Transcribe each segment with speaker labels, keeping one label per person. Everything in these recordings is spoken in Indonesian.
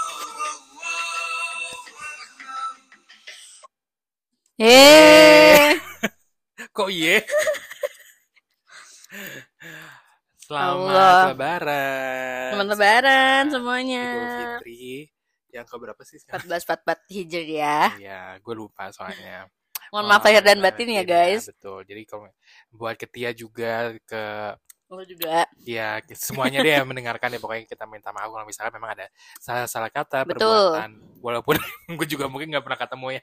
Speaker 1: Yeay.
Speaker 2: Kok iya? Selamat
Speaker 1: Allah.
Speaker 2: lebaran.
Speaker 1: Selamat lebaran semuanya.
Speaker 2: Idul Fitri yang keberapa sih sekarang?
Speaker 1: 1444 Hijri ya.
Speaker 2: Iya, gue lupa soalnya.
Speaker 1: Mohon maaf lahir dan batin ya,
Speaker 2: Iya,
Speaker 1: guys.
Speaker 2: Betul. Jadi kalau buat Ketia juga ke
Speaker 1: Lu juga.
Speaker 2: ya ke- semuanya dia yang mendengarkan ya pokoknya kita minta maaf kalau misalkan memang ada salah-salah kata
Speaker 1: Betul.
Speaker 2: perbuatan walaupun gue juga mungkin nggak pernah ketemu ya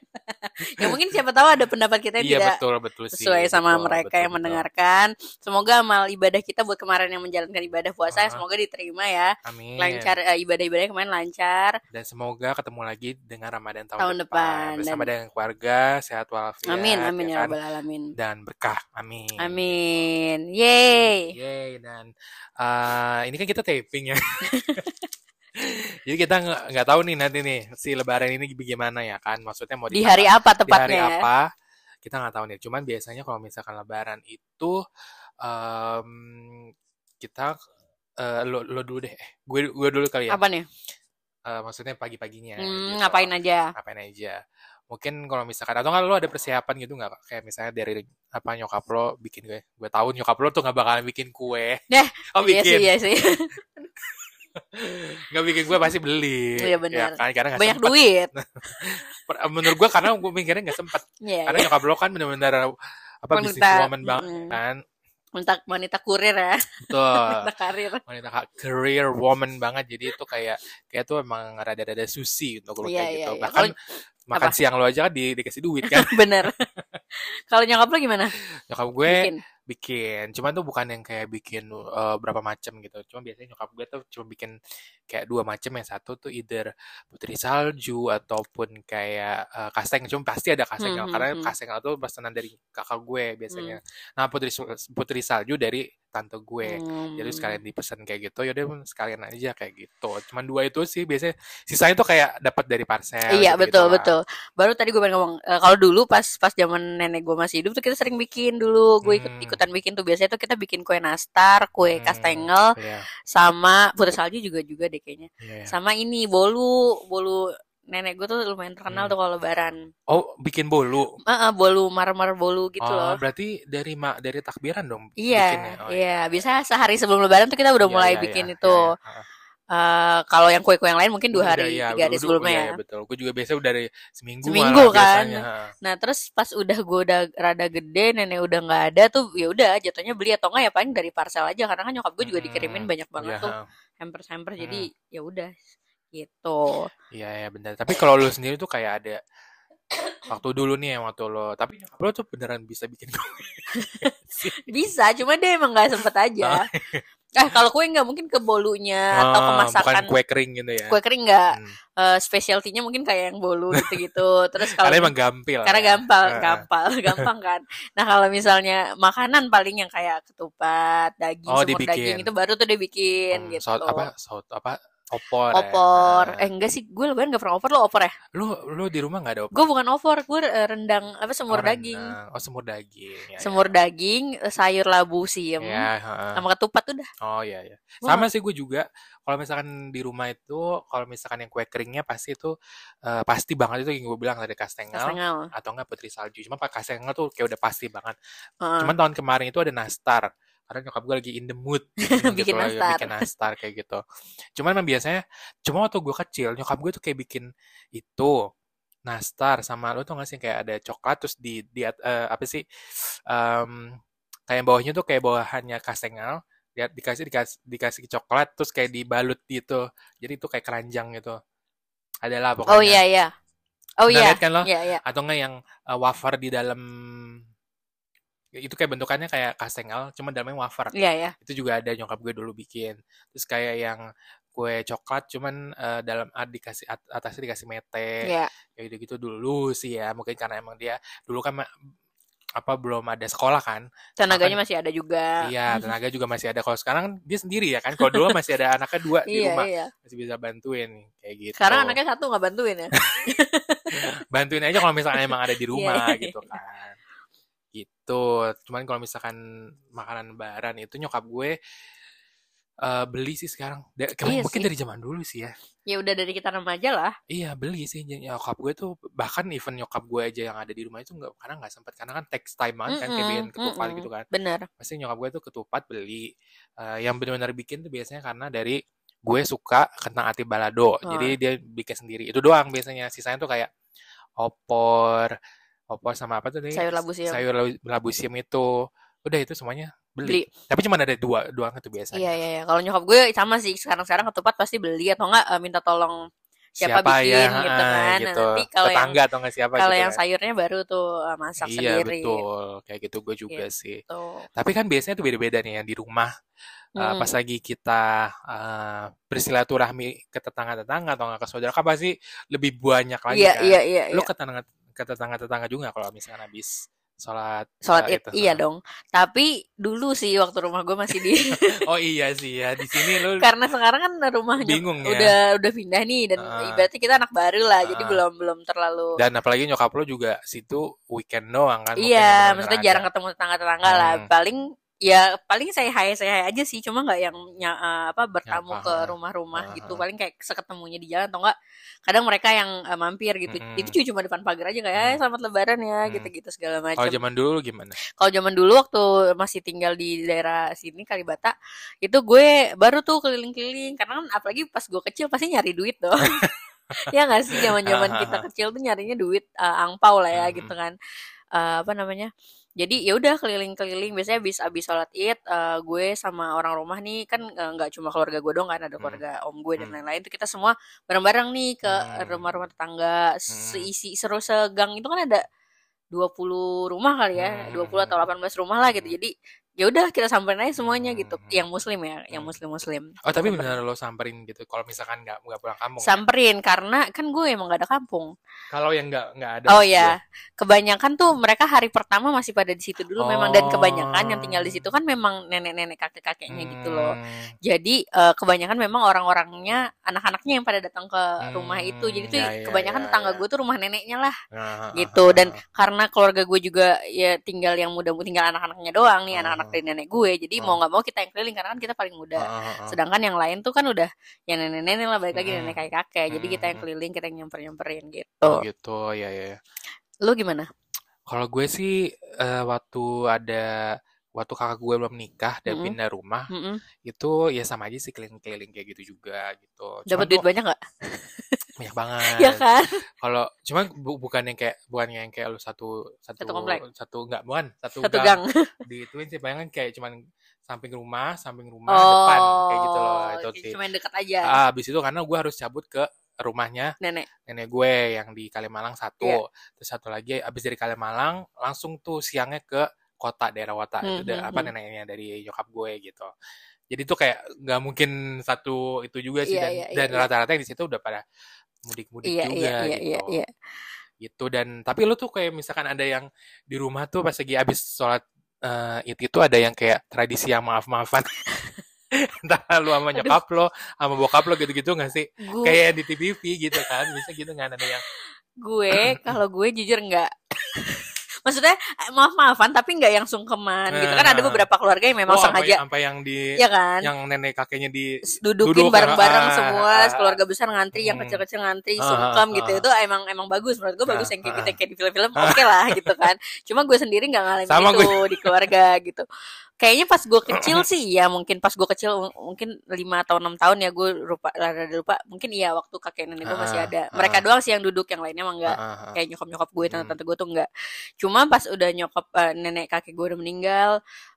Speaker 1: Ya mungkin siapa tahu ada pendapat kita yang
Speaker 2: iya
Speaker 1: tidak
Speaker 2: betul betul sih
Speaker 1: sesuai sama
Speaker 2: Betul,
Speaker 1: mereka
Speaker 2: betul,
Speaker 1: yang
Speaker 2: betul.
Speaker 1: mendengarkan. Semoga amal ibadah kita buat kemarin yang menjalankan ibadah puasa
Speaker 2: Ah. Iya.
Speaker 1: semoga diterima ya.
Speaker 2: amin
Speaker 1: Lancar eh, ibadah-ibadah kemarin lancar.
Speaker 2: dan semoga ketemu lagi dengan Ramadan tahun,
Speaker 1: Tahun depan.
Speaker 2: bersama
Speaker 1: Dan-
Speaker 2: dengan keluarga sehat walafiat
Speaker 1: Amin
Speaker 2: ya
Speaker 1: amin ya
Speaker 2: kan?
Speaker 1: rabbal alamin.
Speaker 2: dan berkah amin
Speaker 1: Amin. Yeay.
Speaker 2: Yeay, dan eh, ini kan kita taping ya jadi kita nggak nggak tahu nih nanti nih si lebaran ini gimana ya kan maksudnya mau
Speaker 1: Di
Speaker 2: dimakan
Speaker 1: hari apa
Speaker 2: di hari
Speaker 1: tepatnya? ya?
Speaker 2: apa kita nggak tahu nih cuman biasanya kalau misalkan lebaran itu em, kita eh, lo, lo dulu deh Eh, gue gue dulu kali ya
Speaker 1: Apa nih?
Speaker 2: Eh, maksudnya pagi-paginya
Speaker 1: Hmm,
Speaker 2: gitu.
Speaker 1: ngapain aja?
Speaker 2: ngapain aja mungkin kalau misalkan atau nggak lo ada persiapan gitu nggak Kak? kayak misalnya dari apa nyokap lo bikin gue gue tahu nyokap lo tuh nggak bakalan bikin kue
Speaker 1: Deh,
Speaker 2: oh
Speaker 1: Iya sih,
Speaker 2: bikin
Speaker 1: iya sih.
Speaker 2: nggak bikin kue pasti beli
Speaker 1: Iya, benar.
Speaker 2: ya, kan? karena nggak
Speaker 1: Banyak
Speaker 2: sempet.
Speaker 1: duit.
Speaker 2: Per- menurut gue karena gue mikirnya nggak sempet
Speaker 1: Iya.
Speaker 2: karena nyokap lo kan benar-benar apa
Speaker 1: Wanita.
Speaker 2: bisnis woman banget Ah.
Speaker 1: Mm-mm.
Speaker 2: kan
Speaker 1: Wanita, wanita kurir ya,
Speaker 2: betul
Speaker 1: wanita karir.
Speaker 2: wanita ka- career woman banget jadi itu kayak kayak tuh emang rada-rada susi untuk lo
Speaker 1: Iya,
Speaker 2: kayak
Speaker 1: iya,
Speaker 2: gitu
Speaker 1: iya.
Speaker 2: bahkan
Speaker 1: Kalau-
Speaker 2: makan
Speaker 1: apa?
Speaker 2: siang lo aja kan di- dikasih duit kan
Speaker 1: Bener. Kalau nyokap lo gimana?
Speaker 2: nyokap gue
Speaker 1: Bikin.
Speaker 2: bikin cuman tuh bukan yang kayak bikin eh, berapa macam gitu cuma biasanya nyokap gue tuh cuma bikin kayak dua macam yang satu tuh either putri salju ataupun kayak eh, kasteng cuma pasti ada kasteng
Speaker 1: Hmm, hmm,
Speaker 2: karena
Speaker 1: hmm.
Speaker 2: kasteng itu pesanan dari kakak gue biasanya nah putri sul- putri salju dari tante gue
Speaker 1: Hmm.
Speaker 2: jadi sekalian dipesan kayak gitu yaudah Bun, sekalian aja kayak gitu cuman dua itu sih biasanya sisanya tuh kayak dapat dari parcel
Speaker 1: Iya
Speaker 2: gitu-gitu
Speaker 1: betul
Speaker 2: lah.
Speaker 1: betul. Baru tadi gue pengen ngomong eh, kalau dulu pas pas zaman nenek gue masih hidup tuh kita sering bikin dulu. Gue ikut
Speaker 2: Hmm.
Speaker 1: ikutan bikin tuh biasanya tuh kita bikin kue nastar, kue
Speaker 2: Hmm,
Speaker 1: kastengel,
Speaker 2: iya,
Speaker 1: sama putri salju juga juga deh kayaknya.
Speaker 2: iya.
Speaker 1: Sama ini bolu bolu nenek gue tuh lumayan terkenal
Speaker 2: Hmm.
Speaker 1: tuh kalau lebaran.
Speaker 2: oh bikin bolu
Speaker 1: Eh, eh, bolu marmer bolu gitu
Speaker 2: Oh,
Speaker 1: loh.
Speaker 2: berarti dari mak dari takbiran dong bikinnya.
Speaker 1: Iya,
Speaker 2: Oh,
Speaker 1: iya. Biasanya sehari sebelum lebaran tuh kita udah
Speaker 2: Iya,
Speaker 1: mulai
Speaker 2: iya,
Speaker 1: bikin
Speaker 2: iya,
Speaker 1: itu.
Speaker 2: iya, iya. Heeh.
Speaker 1: Eh, kalau yang kue-kue yang lain mungkin dua
Speaker 2: Udah,
Speaker 1: hari,
Speaker 2: iya,
Speaker 1: tiga hari
Speaker 2: udah,
Speaker 1: sebelumnya
Speaker 2: iya,
Speaker 1: ya.
Speaker 2: iya, betul. Gue juga biasa udah dari seminggu,
Speaker 1: Seminggu,
Speaker 2: malah
Speaker 1: kan?
Speaker 2: biasanya. heeh.
Speaker 1: Nah terus pas udah gue udah rada gede, nenek udah nggak ada tuh, ya udah jatuhnya beli atau enggak ya paling dari parcel aja karena kan nyokap gue juga dikirimin
Speaker 2: Mm-mm.
Speaker 1: banyak banget
Speaker 2: Iya, Hmm.
Speaker 1: tuh
Speaker 2: heeh.
Speaker 1: hampers-hampers
Speaker 2: Mm-mm.
Speaker 1: jadi ya udah gitu.
Speaker 2: Iya, iya, benar. Tapi kalau lu sendiri tuh kayak ada waktu dulu nih yang waktu lo tapi nyokap lo tuh beneran bisa bikin
Speaker 1: Bisa, cuma dia emang nggak sempet aja. Eh kalau kue nggak mungkin ke bolunya atau ke
Speaker 2: Ah,
Speaker 1: masakan
Speaker 2: Oh. bukan kue kering gitu ya.
Speaker 1: kue kering nggak
Speaker 2: Hmm.
Speaker 1: Eh, specialty-nya mungkin kayak yang bolu gitu-gitu. Terus kalau
Speaker 2: Karena emang gampil.
Speaker 1: Karena
Speaker 2: ya.
Speaker 1: gampang,
Speaker 2: Heeh.
Speaker 1: gampang, gampang kan. Nah kalau misalnya makanan paling yang kayak ketupat, daging,
Speaker 2: Oh,
Speaker 1: semur
Speaker 2: dibikin.
Speaker 1: daging itu baru tuh dia bikin
Speaker 2: Hmm,
Speaker 1: gitu.
Speaker 2: saut apa saut apa opor. ya.
Speaker 1: Opor,
Speaker 2: Heeh.
Speaker 1: eh enggak sih, gue lebaran gak pernah opor lo opor ya?
Speaker 2: lu lu di rumah nggak ada opor?
Speaker 1: Gue bukan opor, gue eh, rendang apa semur
Speaker 2: Oh,
Speaker 1: daging,
Speaker 2: rendang. Oh, semur daging. Ya, ya.
Speaker 1: semur daging, eh, sayur labu siem,
Speaker 2: Ya, heeh.
Speaker 1: sama ketupat udah.
Speaker 2: Oh iya ya.
Speaker 1: Gua
Speaker 2: Sama sih gue juga. Kalau misalkan di rumah itu, kalau misalkan yang kue keringnya pasti itu eh, pasti banget itu yang gue bilang tadi kastengel
Speaker 1: Kastengel.
Speaker 2: atau enggak putri salju. Cuma pak kastengel tuh kayak udah pasti banget.
Speaker 1: Heeh.
Speaker 2: Cuman tahun kemarin itu ada nastar. Karena nyokap gue lagi in the mood gitu
Speaker 1: Bikin
Speaker 2: lagi
Speaker 1: nastar.
Speaker 2: bikin nastar kayak gitu. Cuman emang biasanya cuma waktu gue kecil nyokap gue tuh kayak bikin itu nastar sama lo tuh nggak sih kayak ada coklat terus di di at- eh, apa sih em, kayak bawahnya tuh kayak bawahannya kastengel lihat dikasih dikasih dikasih coklat terus kayak dibalut gitu jadi itu kayak keranjang gitu adalah pokoknya
Speaker 1: Oh iya iya. Oh
Speaker 2: Pernah
Speaker 1: iya.
Speaker 2: lihat kan lo?
Speaker 1: Iya iya.
Speaker 2: atau enggak yang eh, wafer di dalam ya itu kayak bentukannya kayak kastengel cuma dalamnya wafer
Speaker 1: Iya iya.
Speaker 2: itu juga ada nyokap gue dulu bikin terus kayak yang kue coklat cuman eh, dalam ah, dikasih at- atasnya dikasih mete
Speaker 1: Iya.
Speaker 2: ya gitu gitu dulu sih ya mungkin karena emang dia dulu kan ma- apa belum ada sekolah kan
Speaker 1: Tenaganya
Speaker 2: Makan.
Speaker 1: masih ada juga.
Speaker 2: iya tenaga juga masih ada kalau sekarang dia sendiri ya kan kalau dulu masih ada anaknya dua di
Speaker 1: Iya
Speaker 2: rumah gitu.
Speaker 1: iya.
Speaker 2: masih bisa bantuin kayak gitu
Speaker 1: Sekarang anaknya satu nggak bantuin ya.
Speaker 2: bantuin aja kalau misalkan emang ada di rumah
Speaker 1: Iya, iya,
Speaker 2: gitu kan gitu cuman kalau misalkan makanan lebaran itu nyokap gue eh, beli sih sekarang. Da-
Speaker 1: Iya
Speaker 2: mungkin
Speaker 1: sih.
Speaker 2: dari zaman dulu sih ya.
Speaker 1: Ya udah dari kita remaja lah.
Speaker 2: Iya beli sih Jadi nyokap gue tuh bahkan even nyokap gue aja yang ada di rumah itu nggak karena nggak sempat karena kan takes time banget kan kayak
Speaker 1: Mm-mm,
Speaker 2: bikin ketupat
Speaker 1: mm-mm.
Speaker 2: gitu kan.
Speaker 1: Bener.
Speaker 2: Pasti nyokap gue tuh ketupat beli Eh, yang benar-benar bikin tuh biasanya karena dari gue suka kentang ati balado. Jadi dia bikin sendiri. Itu doang biasanya. Sisanya tuh kayak opor, opor sama apa tuh tadi?
Speaker 1: Sayur labu siam.
Speaker 2: Sayur labu, labu siam itu. Udah itu semuanya beli.
Speaker 1: Beli.
Speaker 2: Tapi cuma ada dua doang itu biasanya.
Speaker 1: Iya iya. iya. Kalau nyokap gue sama sih sekarang-sekarang ketupat pasti beli atau enggak eh, minta tolong siapa bikin gitu
Speaker 2: ah,
Speaker 1: kan. Nah,
Speaker 2: gitu.
Speaker 1: nanti kalau yang-
Speaker 2: tetangga atau nggak siapa
Speaker 1: kalau
Speaker 2: gitu
Speaker 1: yang
Speaker 2: kan.
Speaker 1: sayurnya baru tuh eh, masak
Speaker 2: iya
Speaker 1: sendiri. Iya.
Speaker 2: betul kayak gitu gue juga sih
Speaker 1: Tuh.
Speaker 2: tapi kan biasanya tuh beda-beda nih yang di rumah Eh,
Speaker 1: Mm-mm.
Speaker 2: pas lagi kita eh, bersilaturahmi ke tetangga-tetangga atau nggak ke saudara kan pasti lebih banyak lagi
Speaker 1: Iya
Speaker 2: kan
Speaker 1: iya iya.
Speaker 2: lu
Speaker 1: iya.
Speaker 2: ke tetangga ke tetangga-tetangga juga kalau misalkan habis sholat
Speaker 1: Sholat
Speaker 2: eh,
Speaker 1: id
Speaker 2: itu.
Speaker 1: iya dong. Tapi dulu sih waktu rumah gue masih di
Speaker 2: oh iya sih ya di sini lu
Speaker 1: karena sekarang kan rumahnya
Speaker 2: Bingung ya.
Speaker 1: udah udah pindah nih dan
Speaker 2: Ah.
Speaker 1: berarti kita anak baru lah jadi
Speaker 2: Ah.
Speaker 1: belum belum terlalu
Speaker 2: dan apalagi nyokap lu juga situ weekend doang kan mungkin yang
Speaker 1: iya
Speaker 2: bener-bener
Speaker 1: maksudnya
Speaker 2: ada.
Speaker 1: jarang ketemu tetangga-tetangga lah
Speaker 2: Hmm.
Speaker 1: paling ya paling saya hai saya hai aja sih cuma nggak yang nya- eh, apa bertamu
Speaker 2: Nyapa,
Speaker 1: ke
Speaker 2: ah.
Speaker 1: rumah-rumah
Speaker 2: Ah,
Speaker 1: gitu
Speaker 2: ah.
Speaker 1: paling kayak seketemunya di jalan atau enggak kadang mereka yang eh, mampir gitu
Speaker 2: Mm-mm.
Speaker 1: itu cuma depan pagar aja kayak "Eh,
Speaker 2: Mm.
Speaker 1: selamat lebaran ya
Speaker 2: Mm.
Speaker 1: gitu-gitu segala macam
Speaker 2: kalau zaman dulu lu gimana
Speaker 1: kalau zaman dulu waktu masih tinggal di daerah sini Kalibata itu gue baru tuh keliling-keliling karena kan apalagi pas gue kecil pasti nyari duit dong ya nggak sih zaman-zaman kita kecil tuh nyarinya duit eh, angpau lah ya
Speaker 2: Mhm.
Speaker 1: gitu kan Eh, apa namanya jadi ya udah keliling-keliling biasanya abis abis sholat id eh, gue sama orang rumah nih kan eh, nggak cuma keluarga gue doang kan ada
Speaker 2: Hmm.
Speaker 1: keluarga om gue dan
Speaker 2: Hmm.
Speaker 1: lain-lain tuh kita semua bareng-bareng nih ke
Speaker 2: Hmm.
Speaker 1: rumah-rumah tetangga seisi seru segang itu kan ada 20 rumah kali ya,
Speaker 2: Hmm.
Speaker 1: 20 atau 18 rumah lah gitu. Jadi ya udah kita samperin aja semuanya gitu.
Speaker 2: Hmm.
Speaker 1: Yang muslim ya, yang
Speaker 2: Hmm.
Speaker 1: muslim-muslim.
Speaker 2: Oh tapi
Speaker 1: Samperin.
Speaker 2: benar lo samperin gitu. Kalau misalkan nggak nggak pulang kampung. ya?
Speaker 1: Samperin karena kan gue emang gak ada kampung.
Speaker 2: Kalau yang nggak nggak ada.
Speaker 1: Oh
Speaker 2: maksud
Speaker 1: ya,
Speaker 2: gue.
Speaker 1: kebanyakan tuh mereka hari pertama masih pada di situ dulu memang dan
Speaker 2: Oh.
Speaker 1: kebanyakan yang tinggal di situ kan memang nenek-nenek kakek-kakeknya gitu loh.
Speaker 2: Hmm.
Speaker 1: Jadi eh, kebanyakan memang orang-orangnya, anak-anaknya yang pada datang ke rumah
Speaker 2: Hmm,
Speaker 1: itu. Jadi tuh
Speaker 2: ya, ya,
Speaker 1: kebanyakan
Speaker 2: ya,
Speaker 1: tetangga
Speaker 2: ya.
Speaker 1: gue tuh rumah neneknya lah
Speaker 2: Ah, ah,
Speaker 1: gitu
Speaker 2: ah,
Speaker 1: dan
Speaker 2: ah.
Speaker 1: karena keluarga gue juga ya tinggal yang muda tinggal anak-anaknya doang nih
Speaker 2: Hmm.
Speaker 1: anak-anak dari nenek gue jadi mau
Speaker 2: Hmm.
Speaker 1: nggak mau kita yang keliling karena kan kita paling muda
Speaker 2: Ah, ah, ah.
Speaker 1: sedangkan yang lain tuh kan udah ya nenek-nenek lah balik lagi
Speaker 2: Mm-mm.
Speaker 1: nenek kakek kakek jadi kita yang
Speaker 2: Mm-mm.
Speaker 1: keliling kita yang nyamper-nyamperin gitu
Speaker 2: Oh gitu ya ya. ya.
Speaker 1: lu gimana
Speaker 2: Kalau gue sih eh, waktu ada waktu kakak gue belum nikah dan
Speaker 1: Mm-mm.
Speaker 2: pindah rumah
Speaker 1: Mm-mm.
Speaker 2: itu ya sama aja sih keliling-keliling kayak gitu juga gitu. Cuman Eh,
Speaker 1: dapat duit
Speaker 2: tuh
Speaker 1: banyak nggak
Speaker 2: banyak banget.
Speaker 1: ya kan
Speaker 2: Kalau cuman bu- bukan yang kayak bukan yang kayak lu satu satu
Speaker 1: Satu komplek?
Speaker 2: satu enggak bukan satu,
Speaker 1: satu gang
Speaker 2: gang, diituin sih palingan kayak cuman samping rumah, samping rumah, depan kayak gitu loh
Speaker 1: oh
Speaker 2: itu sih.
Speaker 1: cuma yang dekat aja
Speaker 2: Ah, habis itu karena gue harus cabut ke rumahnya
Speaker 1: nenek
Speaker 2: nenek gue yang di Kalimalang satu,
Speaker 1: Iya.
Speaker 2: terus satu lagi habis dari Kalimalang langsung tuh siangnya ke kota daerah Wata
Speaker 1: Hmm,
Speaker 2: itu da-
Speaker 1: hmm,
Speaker 2: apa
Speaker 1: hmm.
Speaker 2: neneknya dari nyokap gue gitu. Jadi tuh kayak nggak mungkin satu itu juga sih
Speaker 1: Iya,
Speaker 2: dan
Speaker 1: iya, iya,
Speaker 2: dan
Speaker 1: iya.
Speaker 2: rata-rata yang di situ udah pada mudik-mudik
Speaker 1: iya iya
Speaker 2: juga
Speaker 1: iya
Speaker 2: gitu
Speaker 1: iya iya
Speaker 2: gitu dan tapi lu tuh kayak misalkan ada yang di rumah tuh pas lagi abis sholat eh, id itu ada yang kayak tradisi yang maaf maafan entah lu sama
Speaker 1: Aduh.
Speaker 2: nyokap lo sama bokap lo gitu gitu nggak sih
Speaker 1: gue
Speaker 2: kayak yang di TVV gitu kan bisa gitu nggak ada yang
Speaker 1: gue kalau gue jujur nggak maksudnya maaf maafan tapi nggak yang sungkeman gitu kan ada
Speaker 2: Nah.
Speaker 1: beberapa keluarga yang memang
Speaker 2: Wah, sampai-
Speaker 1: sengaja
Speaker 2: sampai yang di
Speaker 1: ya kan
Speaker 2: yang nenek kakeknya di
Speaker 1: dudukin
Speaker 2: duduk,
Speaker 1: bareng-bareng
Speaker 2: ah,
Speaker 1: semua
Speaker 2: ah,
Speaker 1: keluarga besar ngantri yang
Speaker 2: Hmm.
Speaker 1: kecil-kecil ngantri
Speaker 2: Ah,
Speaker 1: sungkem
Speaker 2: ah,
Speaker 1: gitu
Speaker 2: ah.
Speaker 1: itu emang emang bagus menurut gue bagus
Speaker 2: Ah,
Speaker 1: yang kayak
Speaker 2: ah,
Speaker 1: gitu yang kayak di film-film oke lah gitu kan cuma gue sendiri nggak ngalamin
Speaker 2: Sama
Speaker 1: itu di keluarga gitu kayaknya pas gue kecil sih ya mungkin pas gue kecil m- mungkin lima atau enam tahun ya gue lupa rada lupa mungkin iya waktu kakek nenek gue masih
Speaker 2: Ah,
Speaker 1: ada
Speaker 2: ah.
Speaker 1: mereka doang sih yang duduk yang lainnya emang
Speaker 2: ah,
Speaker 1: enggak
Speaker 2: ah, ah.
Speaker 1: Iya, kayak gitu. nyokap nyokap gue
Speaker 2: Hmm.
Speaker 1: tante tante gue tuh enggak cuma pas udah nyokap eh, nenek kakek gue udah meninggal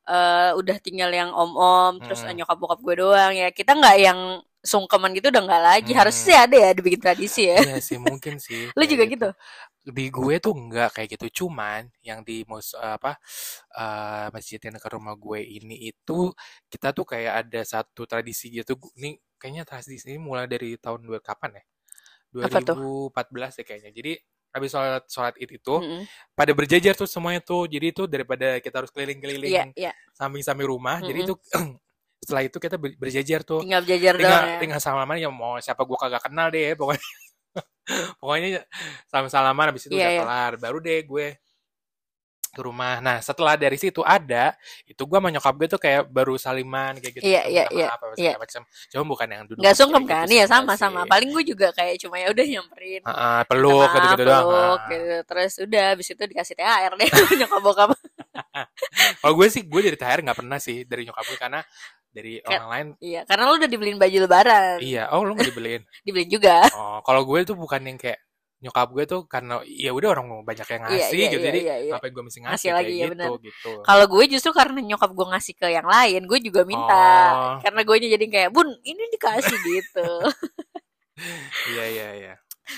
Speaker 1: eh, udah tinggal yang om om terus eh,
Speaker 2: Mm.
Speaker 1: nyokap bokap gue doang ya kita nggak yang sungkeman gitu udah nggak lagi
Speaker 2: Hmm.
Speaker 1: harusnya sih ada ya dibikin tradisi ya
Speaker 2: Iya sih mungkin sih
Speaker 1: lu
Speaker 2: kayak
Speaker 1: juga gitu,
Speaker 2: di gue tuh enggak kayak gitu cuman yang di mus apa eh masjid yang dekat rumah gue ini itu kita tuh kayak ada satu tradisi gitu ini kayaknya tradisi ini mulai dari tahun dua kapan ya
Speaker 1: Apa tuh?
Speaker 2: 2014 ya kayaknya jadi habis sholat sholat id itu
Speaker 1: Mm-mm.
Speaker 2: pada berjejer tuh semuanya tuh jadi itu daripada kita harus
Speaker 1: iya
Speaker 2: keliling-keliling
Speaker 1: iya
Speaker 2: samping-samping rumah jadi itu
Speaker 1: Mm-mm.
Speaker 2: setelah itu kita ber- berjejer tuh
Speaker 1: tinggal jajar doang
Speaker 2: tinggal
Speaker 1: ya
Speaker 2: tinggal salaman ya mau siapa gue kagak kenal deh pokoknya pokoknya salam salaman habis itu
Speaker 1: Iya,
Speaker 2: udah
Speaker 1: iya.
Speaker 2: kelar baru deh gue ke rumah. Nah, setelah dari situ ada, itu gua sama nyokap gue tuh kayak baru saliman kayak gitu.
Speaker 1: Iya,
Speaker 2: minta
Speaker 1: iya,
Speaker 2: maaf,
Speaker 1: iya,
Speaker 2: apa
Speaker 1: iya.
Speaker 2: segala macam. Cuma bukan yang duduk.
Speaker 1: nggak sungkem kan?
Speaker 2: kayak gitu sih,
Speaker 1: Iya
Speaker 2: nggak
Speaker 1: sama sama.
Speaker 2: sih. Ah,
Speaker 1: Paling gue juga kayak cuma ya udah nyamperin.
Speaker 2: Heeh, peluk
Speaker 1: Maaf,
Speaker 2: gitu-gitu oh, doang. Ah.
Speaker 1: peluk,
Speaker 2: Heeh.
Speaker 1: gitu. Terus udah abis itu dikasih THR deh nyokap bokap.
Speaker 2: Kalau gue sih gue dari THR nggak pernah sih dari nyokap gue karena dari orang lain
Speaker 1: Iya, karena lu udah dibeliin baju lebaran.
Speaker 2: iya, oh lu nggak dibeliin.
Speaker 1: Dibeliin juga.
Speaker 2: Oh, kalau gue tuh bukan yang kayak nyokap gue tuh karena ya udah orang mau banyak yang
Speaker 1: Iya,
Speaker 2: ngasih
Speaker 1: iya,
Speaker 2: gitu
Speaker 1: iya,
Speaker 2: jadi
Speaker 1: iya, iya.
Speaker 2: ngapain gue mesti ngasih,
Speaker 1: Ngasih
Speaker 2: kayak
Speaker 1: lagi, iya
Speaker 2: gitu
Speaker 1: benar.
Speaker 2: gitu.
Speaker 1: Kalau gue justru karena nyokap gue ngasih ke yang lain, gue juga minta.
Speaker 2: Oh.
Speaker 1: Karena gue jadi kayak, "Bun, ini dikasih gitu."
Speaker 2: Iya iya iya.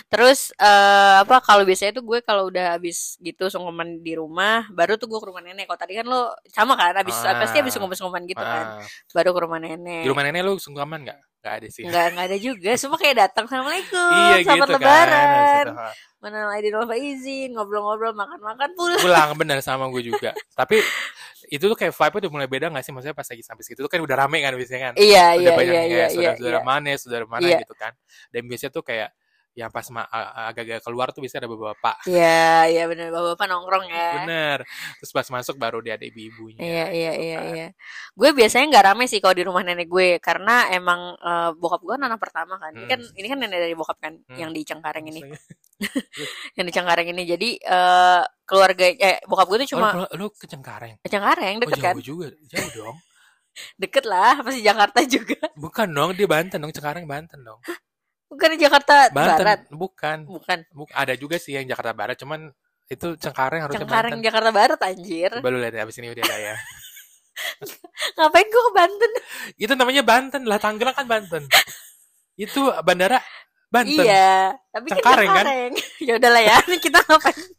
Speaker 1: Terus eh, apa kalau biasanya tuh gue kalau udah habis gitu sungkeman di rumah, baru tuh gue ke rumah nenek. Kalau tadi kan lo sama kan habis
Speaker 2: Ah.
Speaker 1: pasti habis sungkeman-sungkeman gitu kan.
Speaker 2: Ah.
Speaker 1: Baru ke rumah nenek.
Speaker 2: Di rumah nenek lu sungkaman nggak? Nggak ada sih.
Speaker 1: Enggak, enggak ada juga. Semua kayak datang. Assalamualaikum.
Speaker 2: iya
Speaker 1: selamat
Speaker 2: gitu kan. habis
Speaker 1: lebaran.
Speaker 2: itu, ha.
Speaker 1: Mana Aidil Wafa izin, ngobrol-ngobrol, makan-makan pulang.
Speaker 2: Pulang bener sama gue juga. Tapi itu tuh kayak vibe-nya udah mulai beda nggak sih? Maksudnya pas lagi sampai situ tuh kan udah rame kan biasanya kan.
Speaker 1: Iya, iya,
Speaker 2: udah banyak
Speaker 1: iya,
Speaker 2: yang
Speaker 1: iya,
Speaker 2: kayak
Speaker 1: iya,
Speaker 2: saudara-saudara mana, saudara mana
Speaker 1: Iya.
Speaker 2: gitu kan. Dan biasanya tuh kayak yang pas ma- a- agak-agak keluar tuh biasanya ada bapak-bapak.
Speaker 1: Iya, iya benar bapak-bapak nongkrong ya.
Speaker 2: Bener. Terus pas masuk baru dia ada ibu-ibunya.
Speaker 1: Iya, iya, iya,
Speaker 2: kan.
Speaker 1: iya. Gue biasanya nggak rame sih kalau di rumah nenek gue karena emang eh, bokap gue anak pertama kan. Ini
Speaker 2: Hmm.
Speaker 1: kan ini kan nenek dari bokap kan
Speaker 2: Hmm.
Speaker 1: yang di Cengkareng ini.
Speaker 2: Maksudnya-
Speaker 1: Yang di Cengkareng ini. Jadi eh keluarga eh bokap gue tuh
Speaker 2: Oh,
Speaker 1: cuma
Speaker 2: lu, lu ke Cengkareng.
Speaker 1: Cengkareng
Speaker 2: Oh,
Speaker 1: deket kan?
Speaker 2: jauh juga. Jauh dong.
Speaker 1: Deket lah, pasti Jakarta juga.
Speaker 2: Bukan dong, dia Banten dong. Cengkareng Banten dong.
Speaker 1: Bukan di Jakarta
Speaker 2: Banten.
Speaker 1: Barat,
Speaker 2: Bukan.
Speaker 1: bukan.
Speaker 2: Buk- ada juga sih yang Jakarta Barat, cuman itu Cengkareng harusnya
Speaker 1: Cengkareng gitu.
Speaker 2: Banten.
Speaker 1: Jakarta Barat anjir.
Speaker 2: Coba lu lihat deh, abis ini udah ada ya.
Speaker 1: Ngapain gue ke Banten?
Speaker 2: itu namanya Banten lah, Tangerang kan Banten. itu bandara Banten.
Speaker 1: Iya, tapi
Speaker 2: Cengkareng,
Speaker 1: kan
Speaker 2: kan?
Speaker 1: Cengkareng. ya udahlah ya, ini kita ngapain?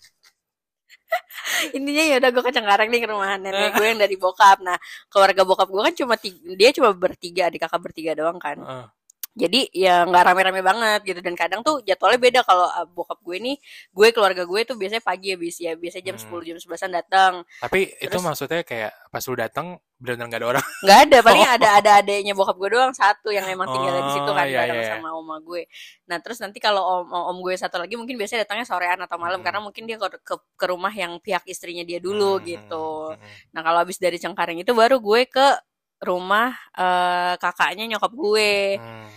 Speaker 1: Intinya ya udah gue ke Cengkareng nih ke rumah nenek gue yang dari bokap. Nah, keluarga bokap gue kan cuma ti- dia cuma bertiga, adik kakak bertiga doang kan.
Speaker 2: Heeh.
Speaker 1: Jadi ya nggak rame-rame banget gitu dan kadang tuh jadwalnya beda kalau uh, bokap gue nih, gue keluarga gue tuh biasanya pagi habis ya, biasanya jam
Speaker 2: Hmm.
Speaker 1: 10 jam 11-an datang.
Speaker 2: Tapi itu
Speaker 1: Terus-
Speaker 2: maksudnya kayak pas lu datang benar-benar gak ada orang.
Speaker 1: nggak ada paling ada ada adanya bokap gue doang satu yang emang tinggal di situ
Speaker 2: Oh,
Speaker 1: kan
Speaker 2: iya,
Speaker 1: bareng
Speaker 2: iya.
Speaker 1: sama oma gue nah terus nanti kalau om om gue satu lagi mungkin biasanya datangnya sorean atau malam
Speaker 2: Mm.
Speaker 1: karena mungkin dia ke, ke ke rumah yang pihak istrinya dia dulu
Speaker 2: Hmm,
Speaker 1: gitu
Speaker 2: hmm, hmm.
Speaker 1: nah kalau habis dari Cengkareng itu baru gue ke rumah eh, kakaknya nyokap gue
Speaker 2: Hmm.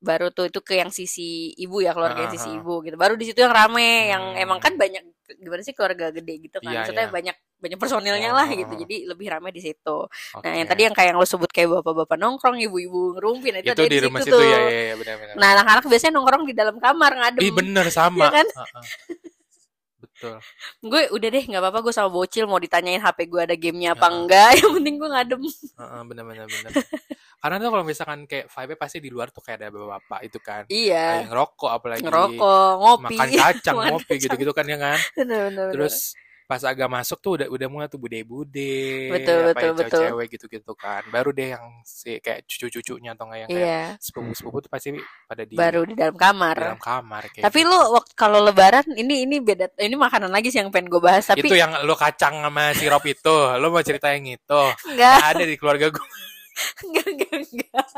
Speaker 1: baru tuh itu ke yang sisi ibu ya keluarga yang sisi
Speaker 2: Ah, ah, ah.
Speaker 1: ibu gitu baru di situ yang rame yang
Speaker 2: Hmm.
Speaker 1: emang kan banyak gimana sih keluarga gede gitu kan
Speaker 2: Iya,
Speaker 1: maksudnya
Speaker 2: iya.
Speaker 1: banyak banyak personilnya
Speaker 2: Oh,
Speaker 1: lah
Speaker 2: oh,
Speaker 1: gitu
Speaker 2: oh.
Speaker 1: jadi lebih rame di situ Nah, yang
Speaker 2: Oke.
Speaker 1: tadi yang kayak yang lo sebut kayak bapak-bapak nongkrong, ibu-ibu ngerumpi, nah itu, ada
Speaker 2: itu di
Speaker 1: di
Speaker 2: rumah
Speaker 1: situ
Speaker 2: situ
Speaker 1: tuh.
Speaker 2: ya, ya, ya benar-benar.
Speaker 1: Nah, anak-anak biasanya nongkrong di dalam kamar ngadem.
Speaker 2: Ih bener sama.
Speaker 1: Iya kan?
Speaker 2: Heeh. Betul.
Speaker 1: Gue udah deh, nggak apa-apa gue sama bocil mau ditanyain HP gue ada gamenya apa
Speaker 2: Heeh.
Speaker 1: enggak, yang penting gue ngadem.
Speaker 2: Heeh, benar-benar benar. Karena tuh kalau misalkan kayak vibe pasti di luar tuh kayak ada bapak-bapak itu kan. Ada
Speaker 1: Iya,
Speaker 2: yang rokok apalagi
Speaker 1: ngerokok, ngopi.
Speaker 2: makan kacang,
Speaker 1: Makan
Speaker 2: ngopi gitu-gitu kan ya kan.
Speaker 1: Bener-bener.
Speaker 2: Terus pas agak masuk tuh udah udah mulai tuh bude-bude,
Speaker 1: Betul,
Speaker 2: apa
Speaker 1: betul,
Speaker 2: yang cewek-cewek gitu-gitu kan. Baru deh yang si kayak cucu-cucunya atau enggak yang kayak
Speaker 1: Iya,
Speaker 2: sepupu-sepupu tuh pasti pada di Iya,
Speaker 1: baru di dalam
Speaker 2: di dalam
Speaker 1: kamar.
Speaker 2: kamar kayak
Speaker 1: Tapi
Speaker 2: gitu.
Speaker 1: lu waktu kalau lebaran ini ini beda ini makanan lagi sih yang pengen gue bahas tapi
Speaker 2: itu ya. yang lo kacang sama sirup itu, lo mau cerita yang itu.
Speaker 1: enggak,
Speaker 2: Nggak ada di keluarga gue.
Speaker 1: enggak, enggak, enggak.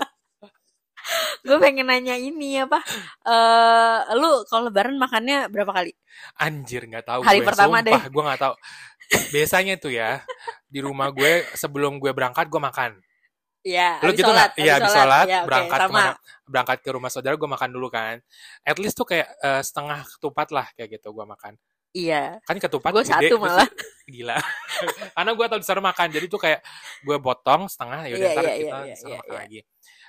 Speaker 1: gue pengen nanya ini apa? Eh, lu kalau lebaran makannya berapa kali?
Speaker 2: Anjir nggak tahu
Speaker 1: Hari
Speaker 2: gue.
Speaker 1: pertama
Speaker 2: Sumpah, gue nggak tahu. Biasanya tuh ya di rumah gue sebelum gue berangkat gue makan.
Speaker 1: Ya,
Speaker 2: Lu
Speaker 1: habis
Speaker 2: gitu
Speaker 1: sholat,
Speaker 2: nggak? Iya,
Speaker 1: habis
Speaker 2: habis
Speaker 1: sholat.
Speaker 2: sholat,
Speaker 1: Ya, oke,
Speaker 2: berangkat
Speaker 1: sama.
Speaker 2: kemana? Berangkat ke rumah saudara gue makan dulu kan. At least tuh kayak eh, setengah ketupat lah kayak gitu gue makan.
Speaker 1: Iya.
Speaker 2: Kan ketupat
Speaker 1: Gue
Speaker 2: gede,
Speaker 1: satu
Speaker 2: terus-
Speaker 1: malah.
Speaker 2: gila. Karena gue tahu disuruh makan, jadi tuh kayak gue potong setengah, ya udah
Speaker 1: Iya,
Speaker 2: ntar
Speaker 1: iya,
Speaker 2: kita
Speaker 1: iya, iya,
Speaker 2: disuruh
Speaker 1: iya,
Speaker 2: makan
Speaker 1: iya.
Speaker 2: lagi.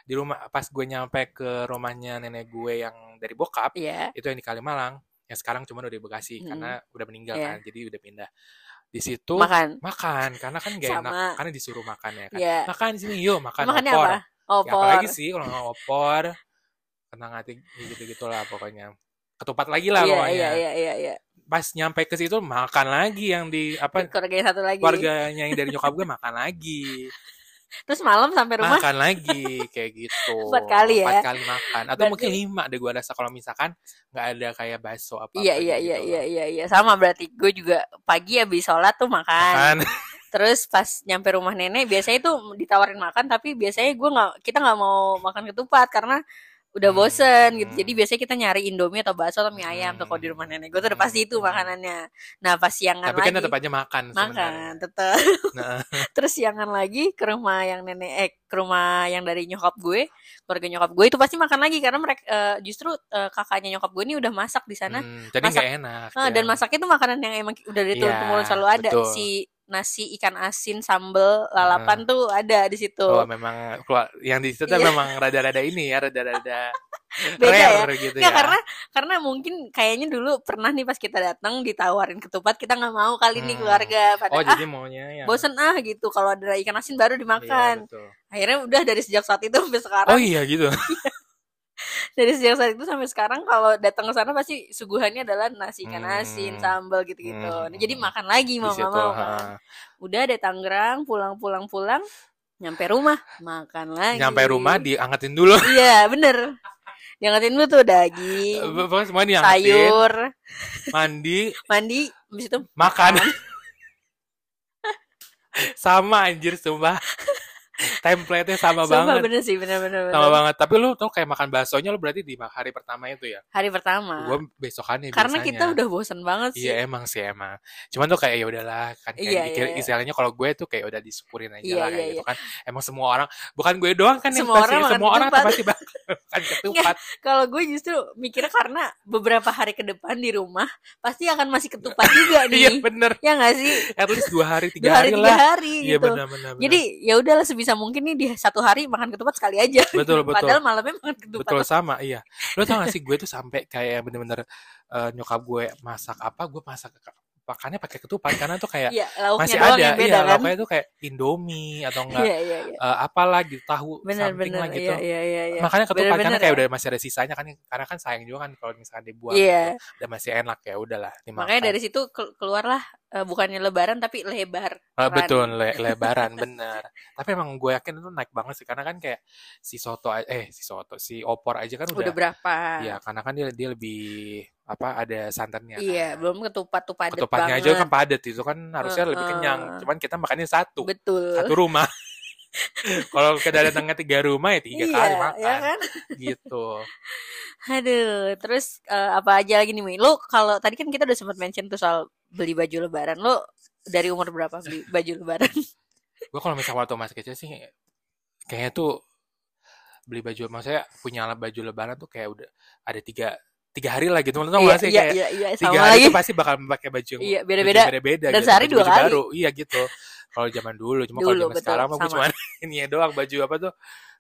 Speaker 2: Di rumah pas gue nyampe ke rumahnya nenek gue yang dari bokap,
Speaker 1: Iya.
Speaker 2: itu yang di Kalimalang yang sekarang cuma udah di Bekasi
Speaker 1: Mm-mm.
Speaker 2: karena udah meninggal
Speaker 1: Hmm. Iya.
Speaker 2: kan jadi udah pindah di situ
Speaker 1: Makan.
Speaker 2: makan, karena kan gak enak
Speaker 1: Sama.
Speaker 2: karena disuruh makan ya kan
Speaker 1: Iya.
Speaker 2: makan di sini yuk makan
Speaker 1: Makannya
Speaker 2: opor
Speaker 1: apa?
Speaker 2: Ya,
Speaker 1: Opor.
Speaker 2: apalagi sih kalau nggak opor tenang hati gitu gitulah pokoknya ketupat lagi lah
Speaker 1: Iya,
Speaker 2: pokoknya
Speaker 1: iya, iya, iya, iya.
Speaker 2: pas nyampe ke situ makan lagi yang di apa
Speaker 1: Keluarga yang satu lagi.
Speaker 2: keluarganya yang dari nyokap gue makan lagi
Speaker 1: Terus malam sampai rumah
Speaker 2: makan lagi kayak gitu
Speaker 1: Empat kali ya?
Speaker 2: empat kali makan atau
Speaker 1: Berarti-
Speaker 2: mungkin lima deh gue rasa kalau misalkan nggak ada kayak bakso gitu apa
Speaker 1: Iya, iya, iya, iya, iya, iya. Sama berarti gue juga pagi habis sholat tuh makan.
Speaker 2: makan
Speaker 1: Terus pas nyampe rumah nenek biasanya itu ditawarin makan tapi biasanya gue nggak kita nggak mau makan ketupat karena udah
Speaker 2: Hmm.
Speaker 1: bosen gitu.
Speaker 2: Hmm.
Speaker 1: Jadi biasanya kita nyari Indomie atau bakso atau mie ayam tuh kalau di rumah nenek gue tuh udah pasti itu
Speaker 2: Hmm.
Speaker 1: makanannya. Nah pas siangan
Speaker 2: Tapi kan
Speaker 1: lagi
Speaker 2: tetap aja makan sebenarnya.
Speaker 1: makan tetap.
Speaker 2: Nah.
Speaker 1: Terus siangan lagi ke rumah yang nenek eh ke rumah yang dari nyokap gue, keluarga nyokap gue itu pasti makan lagi karena mereka eh, justru eh, kakaknya nyokap gue ini udah masak di sana.
Speaker 2: Hmm, jadi
Speaker 1: masak-
Speaker 2: nggak enak.
Speaker 1: Ah,
Speaker 2: ya.
Speaker 1: dan masaknya tuh makanan yang emang udah dari turun temurun
Speaker 2: Iya,
Speaker 1: selalu ada
Speaker 2: betul. Ah.
Speaker 1: si nasi ikan asin sambel lalapan tuh ada di situ.
Speaker 2: Oh, memang keluar yang di situ tuh
Speaker 1: Iya.
Speaker 2: memang rada-rada ini ya, rada-rada
Speaker 1: Beda ya?
Speaker 2: rare gitu
Speaker 1: Nggak,
Speaker 2: ya.
Speaker 1: karena karena mungkin kayaknya dulu pernah nih pas kita datang ditawarin ketupat kita nggak mau kali nih
Speaker 2: Hmm.
Speaker 1: keluarga pada
Speaker 2: Oh,
Speaker 1: ah
Speaker 2: jadi maunya yang
Speaker 1: bosen ah gitu kalau ada ikan asin baru
Speaker 2: Iya,
Speaker 1: dimakan.
Speaker 2: betul.
Speaker 1: Akhirnya udah dari sejak saat itu sampai sekarang
Speaker 2: Oh iya gitu.
Speaker 1: dari sejak saat itu sampai sekarang kalau datang ke sana pasti suguhannya adalah nasi ikan
Speaker 2: Hmm.
Speaker 1: asin sambal gitu-gitu.
Speaker 2: Hmm.
Speaker 1: Nah, jadi makan lagi
Speaker 2: Di
Speaker 1: mau nggak
Speaker 2: situ.
Speaker 1: mau
Speaker 2: ha.
Speaker 1: kan. Udah dari Tangerang pulang-pulang-pulang nyampe rumah makan lagi.
Speaker 2: Nyampe rumah diangetin dulu.
Speaker 1: Iya, bener. Diangetin dulu tuh daging,
Speaker 2: Pokoknya semua
Speaker 1: Iya.
Speaker 2: diangetin,
Speaker 1: sayur,
Speaker 2: mandi,
Speaker 1: mandi, habis itu
Speaker 2: makan. sama anjir sumpah. Template-nya sama
Speaker 1: Sumpah
Speaker 2: banget.
Speaker 1: bener sih, bener-bener.
Speaker 2: Sama banget. Tapi lu tuh kayak makan baksonya lu berarti di hari pertama itu ya.
Speaker 1: Hari pertama.
Speaker 2: Gua besokannya
Speaker 1: Karena
Speaker 2: biasanya.
Speaker 1: kita udah bosen banget sih.
Speaker 2: Iya emang sih emang. Cuman tuh kayak ya udahlah kan kayak
Speaker 1: Iya,
Speaker 2: dikir-
Speaker 1: iya, iya.
Speaker 2: istilahnya kalau gue tuh kayak udah disyukurin aja
Speaker 1: Iya,
Speaker 2: lah kayak
Speaker 1: iya,
Speaker 2: gitu kan. Emang semua orang bukan gue doang kan yang
Speaker 1: Semua
Speaker 2: pasti
Speaker 1: orang makan
Speaker 2: semua orang tuh
Speaker 1: ketupat.
Speaker 2: pasti bakal makan ketupat.
Speaker 1: Kalau gue justru mikirnya karena beberapa hari ke depan di rumah pasti akan masih ketupat juga
Speaker 2: Iya
Speaker 1: nih.
Speaker 2: bener.
Speaker 1: ya nggak sih?
Speaker 2: At least dua hari tiga
Speaker 1: Dua hari,
Speaker 2: hari,
Speaker 1: tiga
Speaker 2: lah.
Speaker 1: hari
Speaker 2: Iya
Speaker 1: gitu.
Speaker 2: benar benar. benar.
Speaker 1: Jadi ya udahlah sebisa mungkin nih di satu hari makan ketupat sekali aja.
Speaker 2: Betul, betul.
Speaker 1: Padahal malamnya makan ketupat.
Speaker 2: betul sama iya. Lo tau gak sih gue tuh sampai kayak bener-bener eh, nyokap gue masak apa gue masak makannya pakai ketupat karena tuh kayak
Speaker 1: Iya, lauknya
Speaker 2: masih
Speaker 1: doang
Speaker 2: ada
Speaker 1: yang beda
Speaker 2: iya
Speaker 1: kan.
Speaker 2: lauknya tuh kayak indomie atau enggak
Speaker 1: Iya, iya, iya.
Speaker 2: eh, apalah gitu tahu
Speaker 1: Benar,
Speaker 2: something
Speaker 1: benar.
Speaker 2: lah gitu.
Speaker 1: Iya, iya, iya, iya.
Speaker 2: makanya ketupat
Speaker 1: Bener-bener
Speaker 2: karena kayak
Speaker 1: ya.
Speaker 2: udah masih ada sisanya kan karena kan sayang juga kan kalau misalkan dibuang
Speaker 1: Iya.
Speaker 2: gitu. dan masih enak ya udahlah dimakan
Speaker 1: Makanya dari situ ke- keluarlah eh, bukannya lebaran tapi lebar. Ran.
Speaker 2: Ah, betul le- lebaran bener tapi emang gue yakin itu naik banget sih karena kan kayak si soto a- eh si soto si opor aja kan
Speaker 1: Udah
Speaker 2: udah,
Speaker 1: berapa?
Speaker 2: ya karena kan dia dia lebih apa ada santannya kan.
Speaker 1: Iya, belum ketupat tuh padet
Speaker 2: ketupatnya
Speaker 1: banget.
Speaker 2: aja kan padat itu kan harusnya lebih kenyang
Speaker 1: Heeh.
Speaker 2: cuman kita makannya satu
Speaker 1: Betul.
Speaker 2: satu rumah kalau kedatangannya tiga rumah ya tiga
Speaker 1: iya,
Speaker 2: kali
Speaker 1: ya
Speaker 2: makan
Speaker 1: kan?
Speaker 2: gitu
Speaker 1: Aduh, terus eh, apa aja lagi nih, Mi? Lo kalau tadi kan kita udah sempat mention tuh soal beli baju lebaran. Lo dari umur berapa beli baju lebaran?
Speaker 2: gue kalau misalnya waktu masih kecil sih kayaknya tuh beli baju maksudnya punya alat baju lebaran tuh kayak udah ada tiga tiga hari lah gitu Lu tau
Speaker 1: iya,
Speaker 2: gak sih
Speaker 1: iya,
Speaker 2: kayak
Speaker 1: iya, iya,
Speaker 2: tiga
Speaker 1: sama
Speaker 2: hari
Speaker 1: lagi.
Speaker 2: tuh pasti bakal pakai baju yang
Speaker 1: Iya,
Speaker 2: baju yang
Speaker 1: beda-beda.
Speaker 2: beda-beda
Speaker 1: Dan sehari dua
Speaker 2: baju-baju
Speaker 1: kali.
Speaker 2: baru iya gitu kalau zaman dulu cuma kalau
Speaker 1: Dulu,
Speaker 2: zaman
Speaker 1: betul,
Speaker 2: sekarang mah gue
Speaker 1: sama.
Speaker 2: cuma ini ya doang baju apa tuh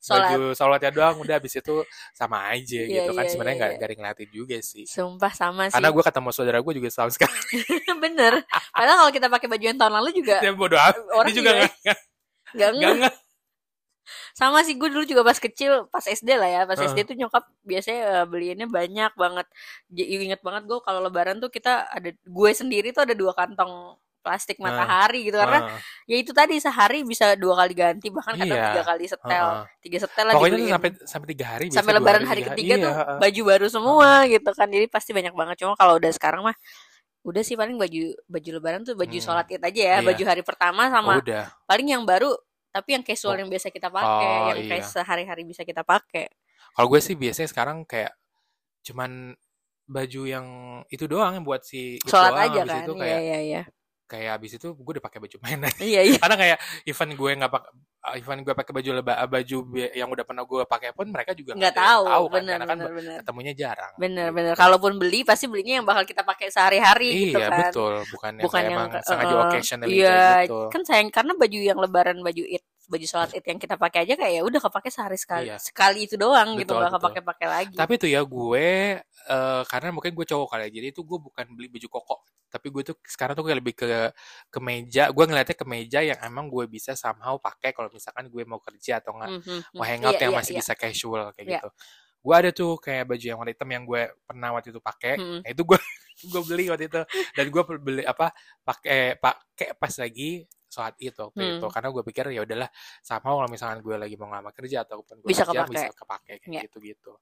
Speaker 1: Sholat.
Speaker 2: baju sholatnya doang udah habis itu sama aja
Speaker 1: Iya,
Speaker 2: gitu kan
Speaker 1: iya,
Speaker 2: sebenarnya
Speaker 1: iya,
Speaker 2: nggak
Speaker 1: iya.
Speaker 2: nggak ada yang ngeliatin juga sih
Speaker 1: Sumpah sama sih.
Speaker 2: karena gue ketemu saudara gue juga setahun sekali
Speaker 1: Bener. Padahal kalau kita pakai baju yang tahun lalu juga
Speaker 2: dia bodo amat
Speaker 1: Orang
Speaker 2: dia juga
Speaker 1: juga-
Speaker 2: nggak
Speaker 1: nggak
Speaker 2: nggak
Speaker 1: ngeh.
Speaker 2: nggak
Speaker 1: Sama sih gue dulu juga pas kecil, pas SD lah ya, pas
Speaker 2: Heeh.
Speaker 1: SD tuh nyokap biasanya eh, beliinnya banyak banget. J- Ingat banget gue kalau lebaran tuh kita ada gue sendiri tuh ada dua kantong plastik
Speaker 2: Nah.
Speaker 1: matahari gitu karena
Speaker 2: Heeh.
Speaker 1: ya itu tadi sehari bisa dua kali ganti bahkan kadang
Speaker 2: Iya.
Speaker 1: tiga kali setel
Speaker 2: Heeh.
Speaker 1: tiga setel lah
Speaker 2: pokoknya tuh
Speaker 1: dibeliin.
Speaker 2: sampai sampai tiga hari
Speaker 1: sampai
Speaker 2: biasanya dua
Speaker 1: lebaran hari,
Speaker 2: tiga
Speaker 1: ketiga
Speaker 2: Iya,
Speaker 1: tuh
Speaker 2: heeh.
Speaker 1: baju baru semua gitu kan jadi pasti banyak banget cuma kalau udah sekarang mah udah sih paling baju baju lebaran tuh baju
Speaker 2: Hmm.
Speaker 1: sholat id aja ya
Speaker 2: Iya.
Speaker 1: baju hari pertama sama
Speaker 2: udah
Speaker 1: paling yang baru tapi yang casual yang biasa kita pakai
Speaker 2: Oh,
Speaker 1: yang kayak
Speaker 2: iya.
Speaker 1: sehari-hari bisa kita pakai
Speaker 2: Kalau gue sih biasanya sekarang kayak cuman baju yang itu doang yang buat si itu
Speaker 1: sholat
Speaker 2: doang.
Speaker 1: aja
Speaker 2: abis
Speaker 1: kan
Speaker 2: itu
Speaker 1: iya
Speaker 2: kayak
Speaker 1: iya iya
Speaker 2: kayak abis itu gue udah pakai baju mainan.
Speaker 1: iya iya
Speaker 2: Karena kayak event gue nggak pakai event gue pakai baju leba baju bi- yang udah pernah gue pakai pun mereka juga
Speaker 1: nggak
Speaker 2: ada yang
Speaker 1: tahu
Speaker 2: tahu kan
Speaker 1: bener
Speaker 2: karena kan
Speaker 1: bener bener
Speaker 2: ketemunya jarang.
Speaker 1: bener
Speaker 2: Gitu.
Speaker 1: bener kalaupun beli pasti belinya yang bakal kita pakai sehari-hari gitu
Speaker 2: iya
Speaker 1: kan
Speaker 2: betul bukan yang
Speaker 1: bukan
Speaker 2: kayak
Speaker 1: yang
Speaker 2: emang sengaja
Speaker 1: uh-uh.
Speaker 2: occasionally
Speaker 1: iya
Speaker 2: kayak gitu.
Speaker 1: kan sayang karena baju yang lebaran baju id baju sholat id yang kita pakai aja kayak ya udah kepake sehari sekali
Speaker 2: Iya.
Speaker 1: sekali itu doang gitu
Speaker 2: Betul,
Speaker 1: nggak
Speaker 2: betul.
Speaker 1: kepake-pakai lagi
Speaker 2: Tapi tuh ya gue eh, karena mungkin gue cowok kali ya, jadi itu gue bukan beli baju koko, tapi gue tuh sekarang tuh kayak lebih ke ke meja. Gue ngeliatnya ke meja yang emang gue bisa somehow pakai kalau misalkan gue mau kerja atau nggak
Speaker 1: Mhm, mhm.
Speaker 2: mau hangout
Speaker 1: Iya,
Speaker 2: yang
Speaker 1: iya,
Speaker 2: masih
Speaker 1: iya.
Speaker 2: bisa casual kayak
Speaker 1: Iya.
Speaker 2: gitu. Gue ada tuh kayak baju yang warna hitam yang gue pernah waktu itu pakai.
Speaker 1: Mm.
Speaker 2: Nah, itu gue gue beli waktu itu dan gue beli apa pakai pakai pas lagi sholat id waktu
Speaker 1: Hmm.
Speaker 2: itu karena gue pikir ya udahlah sama kalau misalkan gue lagi mau ngelamar kerja ataupun gue
Speaker 1: Bisa
Speaker 2: kerja
Speaker 1: kepake.
Speaker 2: bisa kepake kayak
Speaker 1: Iya.
Speaker 2: gitu gitu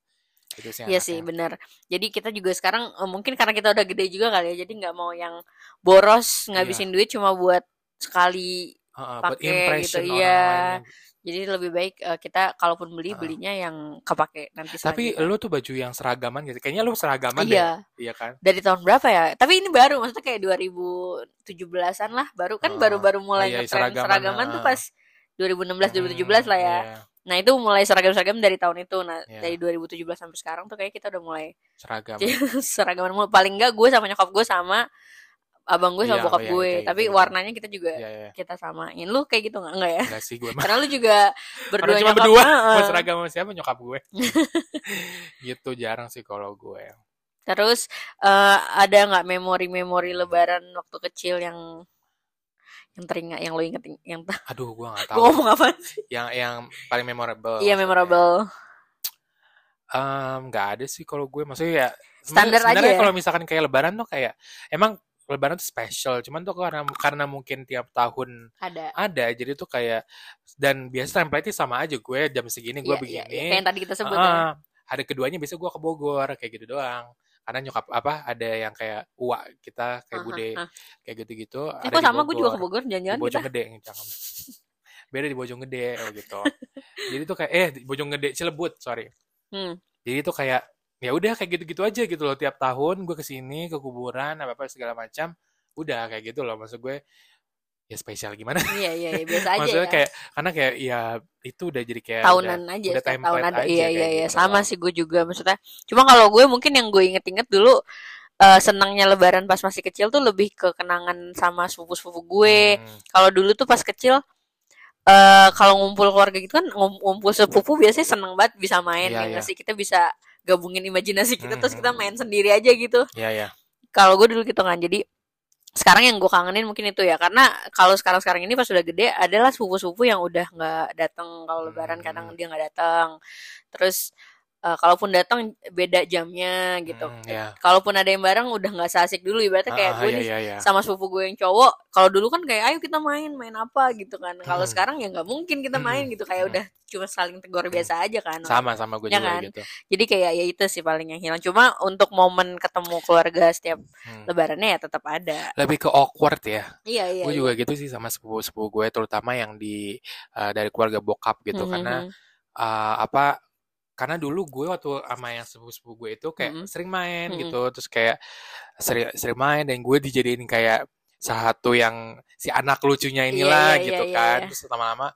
Speaker 2: itu sih
Speaker 1: Iya sih
Speaker 2: enaknya.
Speaker 1: benar. Jadi kita juga sekarang eh, mungkin karena kita udah gede juga kali ya, jadi nggak mau yang
Speaker 2: Iya.
Speaker 1: boros ngabisin duit cuma buat sekali
Speaker 2: Heeh, buat
Speaker 1: pakai
Speaker 2: impression
Speaker 1: gitu,
Speaker 2: orang
Speaker 1: iya.
Speaker 2: lain yang
Speaker 1: Jadi lebih baik eh, kita kalaupun beli belinya yang kepake nanti
Speaker 2: Tapi
Speaker 1: selanjutnya.
Speaker 2: lu tuh baju yang seragaman gitu. Kayaknya lu seragaman
Speaker 1: gitu. Iya,
Speaker 2: deh. Iya kan?
Speaker 1: dari tahun berapa ya? Tapi ini baru maksudnya kayak 2017-an lah, baru kan
Speaker 2: Oh,
Speaker 1: baru-baru mulai
Speaker 2: iya,
Speaker 1: ngetren
Speaker 2: seragaman,
Speaker 1: seragaman tuh
Speaker 2: ah.
Speaker 1: pas 2016 2017 lah ya.
Speaker 2: Iya,
Speaker 1: Nah, itu mulai seragam-seragam dari tahun itu. Nah,
Speaker 2: Iya.
Speaker 1: dari 2017 sampai sekarang tuh kayak kita udah mulai
Speaker 2: seragam.
Speaker 1: Iya. seragaman mulu. Paling enggak gue sama nyokap gue sama abang gue sama
Speaker 2: Iya,
Speaker 1: bokap
Speaker 2: iya,
Speaker 1: gue,
Speaker 2: kayak gitu,
Speaker 1: tapi
Speaker 2: gitu.
Speaker 1: warnanya kita juga
Speaker 2: Iya, iya.
Speaker 1: kita samain. Lu kayak gitu enggak, enggak ya?
Speaker 2: Enggak sih gue mah.
Speaker 1: Karena lu juga berdua
Speaker 2: cuma
Speaker 1: nyokap.
Speaker 2: berdua,
Speaker 1: Heeh.
Speaker 2: Mau seragam sama siapa nyokap gue. gitu jarang sih kalau gue.
Speaker 1: Terus eh, ada nggak memori-memori Lebaran waktu kecil yang yang teringat, yang lo inget, yang gue
Speaker 2: Aduh, gue gak tahu.
Speaker 1: ngomong apa?
Speaker 2: yang yang paling memorable.
Speaker 1: Iya memorable.
Speaker 2: Em, nggak ada sih kalau gue maksudnya ya
Speaker 1: Standar
Speaker 2: sebenarnya- sebenarnya
Speaker 1: aja ya?
Speaker 2: kalau misalkan kayak lebaran tuh kayak emang lebaran tuh special cuman tuh karena karena mungkin tiap tahun
Speaker 1: Ada.
Speaker 2: ada jadi tuh kayak dan biasa template sama aja gue jam segini gue
Speaker 1: Iya, iya,
Speaker 2: begini
Speaker 1: iya. Kayak yang tadi kita sebut ya.
Speaker 2: Ah, hari keduanya biasa gue ke Bogor kayak gitu doang karena nyokap apa ada yang kayak uak kita kayak
Speaker 1: Aha,
Speaker 2: bude
Speaker 1: ah.
Speaker 2: kayak gitu-gitu
Speaker 1: Eh, kok
Speaker 2: ada di
Speaker 1: sama gue juga ke
Speaker 2: Bogor.
Speaker 1: Bogor
Speaker 2: di
Speaker 1: jangan-jangan kita.
Speaker 2: Bojonggede jangan beda di Bojonggede oh gitu jadi tuh kayak eh di Bojonggede Cilebut sorry
Speaker 1: Hmm.
Speaker 2: jadi itu kayak ya udah kayak gitu-gitu aja gitu loh tiap tahun gue kesini ke kuburan apa apa segala macam udah kayak gitu loh maksud gue ya spesial gimana
Speaker 1: Iya, iya, iya, biasa aja
Speaker 2: maksudnya
Speaker 1: ya.
Speaker 2: kayak karena kayak ya itu udah jadi kayak
Speaker 1: tahunan
Speaker 2: udah-
Speaker 1: aja,
Speaker 2: udah
Speaker 1: setiap
Speaker 2: template
Speaker 1: tahun ada.
Speaker 2: aja
Speaker 1: iya,
Speaker 2: kayak
Speaker 1: iya, iya.
Speaker 2: gitu
Speaker 1: Sama
Speaker 2: loh.
Speaker 1: sih gue juga maksudnya. Cuma kalau gue mungkin yang gue inget-inget dulu eh, senangnya Lebaran pas masih kecil tuh lebih ke kenangan sama sepupu-sepupu gue.
Speaker 2: Hmm,
Speaker 1: Kalau dulu tuh pas kecil eh kalau ngumpul keluarga gitu kan ngum- ngumpul sepupu biasanya seneng banget bisa main ya
Speaker 2: Iya,
Speaker 1: nggak
Speaker 2: iya.
Speaker 1: sih kita bisa gabungin imajinasi kita
Speaker 2: Hmm,
Speaker 1: terus kita
Speaker 2: hmm,
Speaker 1: main sendiri aja gitu.
Speaker 2: iya ya
Speaker 1: Kalau gue dulu gitu kan jadi sekarang yang gue kangenin mungkin itu ya karena kalau sekarang sekarang ini pas udah gede adalah sepupu-sepupu yang udah nggak datang kalau lebaran
Speaker 2: Hmm.
Speaker 1: kadang dia nggak datang terus eh, kalaupun datang beda jamnya gitu
Speaker 2: Hmm, iya.
Speaker 1: kalaupun ada yang bareng udah nggak seasik dulu ibaratnya kayak
Speaker 2: Ah, ah,
Speaker 1: gue
Speaker 2: iya,
Speaker 1: nih
Speaker 2: iya, iya.
Speaker 1: sama sepupu gue yang cowok kalau dulu kan kayak ayo kita main main apa gitu kan kalau
Speaker 2: Hmm.
Speaker 1: sekarang ya nggak mungkin kita
Speaker 2: Hmm,
Speaker 1: main gitu kayak
Speaker 2: hmm.
Speaker 1: udah cuma saling tegur biasa aja kan
Speaker 2: sama sama gue
Speaker 1: Ya
Speaker 2: juga
Speaker 1: kan?
Speaker 2: gitu
Speaker 1: jadi kayak ya itu sih paling yang hilang cuma untuk momen ketemu keluarga setiap
Speaker 2: Hmm.
Speaker 1: lebarannya ya tetap ada
Speaker 2: lebih ke awkward ya
Speaker 1: iya iya
Speaker 2: gue
Speaker 1: iya.
Speaker 2: juga gitu sih sama sepupu-sepupu gue terutama yang di eh, dari keluarga bokap gitu
Speaker 1: Hmm,
Speaker 2: karena
Speaker 1: hmm,
Speaker 2: eh, apa karena dulu gue waktu sama yang sepupu-sepupu gue itu kayak
Speaker 1: Mm-mm.
Speaker 2: sering main
Speaker 1: Mm-mm.
Speaker 2: gitu terus kayak sering sering main dan gue dijadiin kayak salah satu yang si anak lucunya
Speaker 1: Iya,
Speaker 2: inilah
Speaker 1: iya,
Speaker 2: gitu
Speaker 1: iya,
Speaker 2: kan
Speaker 1: iya.
Speaker 2: terus lama-lama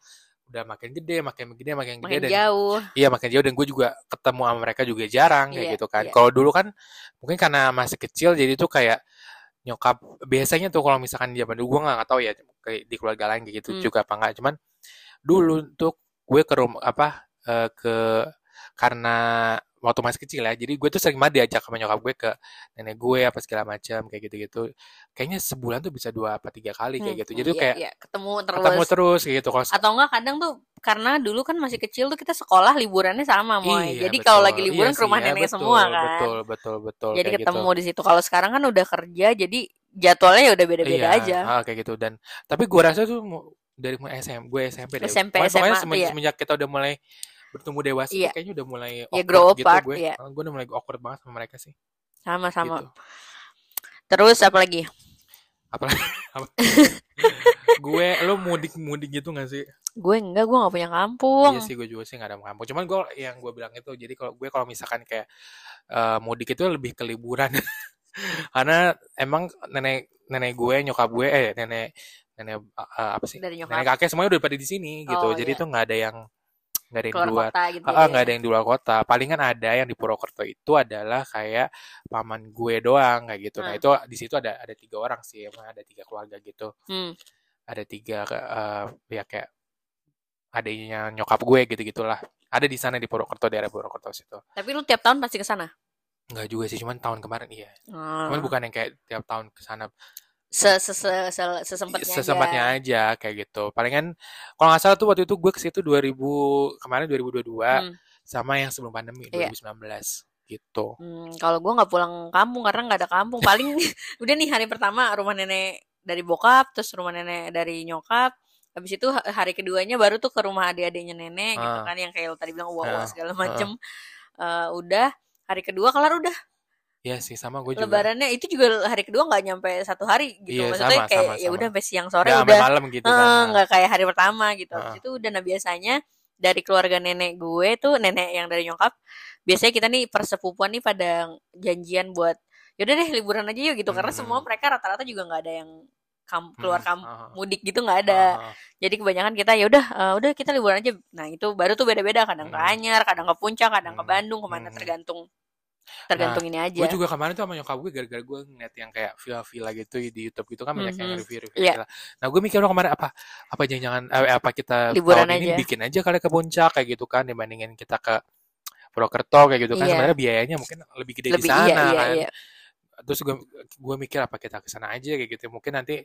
Speaker 2: udah makin gede makin gede makin gede
Speaker 1: makin
Speaker 2: dan
Speaker 1: jauh
Speaker 2: iya makin jauh dan gue juga ketemu sama mereka juga jarang kayak
Speaker 1: Iya,
Speaker 2: gitu kan
Speaker 1: iya.
Speaker 2: kalau dulu kan mungkin karena masih kecil jadi tuh kayak nyokap biasanya tuh kalau misalkan di zaman dulu gue nggak tahu ya kayak di keluarga lain kayak
Speaker 1: Hmm.
Speaker 2: gitu juga apa enggak cuman dulu tuh gue ke rumah apa eh, ke karena waktu masih kecil ya jadi gue tuh sering banget diajak sama nyokap gue ke nenek gue apa segala macam kayak gitu gitu kayaknya sebulan tuh bisa dua apa tiga kali kayak
Speaker 1: Hmm,
Speaker 2: gitu
Speaker 1: hmm,
Speaker 2: jadi tuh
Speaker 1: iya,
Speaker 2: kayak
Speaker 1: iya. ketemu terus
Speaker 2: ketemu terus kayak gitu kalau
Speaker 1: atau enggak kadang tuh karena dulu kan masih kecil tuh kita sekolah liburannya sama moy
Speaker 2: Iya,
Speaker 1: jadi kalau
Speaker 2: betul.
Speaker 1: lagi liburan
Speaker 2: Iya
Speaker 1: ke rumah
Speaker 2: sih, ya,
Speaker 1: nenek
Speaker 2: betul,
Speaker 1: semua kan
Speaker 2: betul betul betul
Speaker 1: jadi
Speaker 2: kayak gitu.
Speaker 1: ketemu di situ kalau sekarang kan udah kerja jadi jadwalnya ya udah beda-beda
Speaker 2: Iya,
Speaker 1: aja
Speaker 2: ah, kayak gitu dan tapi gua rasa tuh mu- dari mulai SM, gue SMP deh.
Speaker 1: SMP,
Speaker 2: Pokoknya, pokoknya
Speaker 1: SMA tuh
Speaker 2: semen-
Speaker 1: ya.
Speaker 2: semenjak kita udah mulai bertumbuh dewasa tuh
Speaker 1: Iya.
Speaker 2: kayaknya udah mulai
Speaker 1: Ya,
Speaker 2: awkward
Speaker 1: grow
Speaker 2: gitu
Speaker 1: apart,
Speaker 2: gue.
Speaker 1: iya.
Speaker 2: Gue udah mulai awkward banget sama mereka sih.
Speaker 1: sama-sama
Speaker 2: Gitu.
Speaker 1: terus apa lagi
Speaker 2: Apalagi apa- gue lo mudik-mudik gitu gak sih?
Speaker 1: gue enggak gue nggak punya kampung
Speaker 2: Iya sih gue juga sih gak ada kampung. Cuman gue yang gue bilang itu jadi kalau gue kalau misalkan kayak eh, mudik itu lebih ke liburan. Karena emang nenek nenek gue, nyokap gue, eh nenek nenek eh, apa sih?
Speaker 1: dari nyokap
Speaker 2: Nenek kakek semuanya udah pada di sini gitu.
Speaker 1: Oh,
Speaker 2: jadi
Speaker 1: iya.
Speaker 2: tuh nggak ada yang nggak ada yang di
Speaker 1: keluar
Speaker 2: luar.
Speaker 1: kota gitu
Speaker 2: Ah, ah,
Speaker 1: ya.
Speaker 2: nggak ada yang di luar kota. Palingan ada yang di Purwokerto itu adalah kayak paman gue doang kayak gitu. Nah
Speaker 1: Hmm.
Speaker 2: itu di situ ada ada tiga orang sih, emang ada tiga keluarga gitu.
Speaker 1: Hmm,
Speaker 2: Ada tiga eh, ya kayak adiknya nyokap gue gitu gitulah. Ada di sana di Purwokerto daerah Purwokerto situ.
Speaker 1: tapi lu tiap tahun pasti ke sana
Speaker 2: Nggak juga sih, cuman tahun kemarin iya.
Speaker 1: Hmm.
Speaker 2: Cuman bukan yang kayak tiap tahun ke sana
Speaker 1: se se se, se- sesempatnya aja.
Speaker 2: Iya, sesempatnya aja kayak gitu. Palingan kalau nggak salah tuh waktu itu gue ke situ 2000 kemarin 2022
Speaker 1: Hmm.
Speaker 2: sama yang sebelum pandemi
Speaker 1: Iya.
Speaker 2: 2019 gitu.
Speaker 1: Hmm, kalau gue nggak pulang kampung karena nggak ada kampung paling udah nih hari pertama rumah nenek dari bokap terus rumah nenek dari nyokap habis itu ha- hari keduanya baru tuh ke rumah adik-adiknya nenek gitu
Speaker 2: Ah.
Speaker 1: kan yang kayak lo tadi bilang wah
Speaker 2: Ah,
Speaker 1: segala macem Eh, udah hari kedua kelar udah
Speaker 2: Iya sih sama gue juga.
Speaker 1: Lebarannya itu juga hari kedua nggak nyampe satu hari gitu.
Speaker 2: Iya,
Speaker 1: Maksudnya
Speaker 2: sama,
Speaker 1: kayak
Speaker 2: sama,
Speaker 1: ya
Speaker 2: sama.
Speaker 1: udah sampai siang sore
Speaker 2: Nggak sampai
Speaker 1: udah
Speaker 2: malam gitu
Speaker 1: eh,
Speaker 2: kan. Ah.
Speaker 1: nggak kayak hari pertama gitu.
Speaker 2: Heeh.
Speaker 1: Habis itu udah nah biasanya dari keluarga nenek gue tuh nenek yang dari nyokap biasanya kita nih persepupuan nih pada janjian buat yaudah deh liburan aja yuk gitu karena
Speaker 2: Hmm.
Speaker 1: semua mereka rata-rata juga nggak ada yang kam- keluar kampung
Speaker 2: Hmm, Ah. heeh,
Speaker 1: mudik gitu nggak ada.
Speaker 2: heeh.
Speaker 1: Jadi kebanyakan kita ya udah eh, udah kita liburan aja. Nah, itu baru tuh beda-beda kadang ke
Speaker 2: Hmm.
Speaker 1: Anyar, kadang ke Puncak, kadang ke
Speaker 2: Hmm.
Speaker 1: Bandung, kemana
Speaker 2: Hmm.
Speaker 1: tergantung tergantung ini aja.
Speaker 2: Gue juga kemarin tuh sama nyokap gue gara-gara gue ngeliat yang kayak villa-villa gitu di YouTube gitu kan banyak yang
Speaker 1: Mhm.
Speaker 2: review-review
Speaker 1: Iya.
Speaker 2: villa. Nah gue mikir loh kemarin apa apa jangan-jangan eh, apa kita
Speaker 1: Liburan
Speaker 2: tahun ini
Speaker 1: aja.
Speaker 2: bikin aja kali ke puncak kayak gitu kan dibandingin kita ke Purwokerto kayak gitu kan
Speaker 1: Iya.
Speaker 2: sebenarnya biayanya mungkin lebih gede di
Speaker 1: Lebih
Speaker 2: sana
Speaker 1: iya iya
Speaker 2: kan.
Speaker 1: iya.
Speaker 2: Terus gue gue mikir apa kita ke sana aja kayak gitu mungkin nanti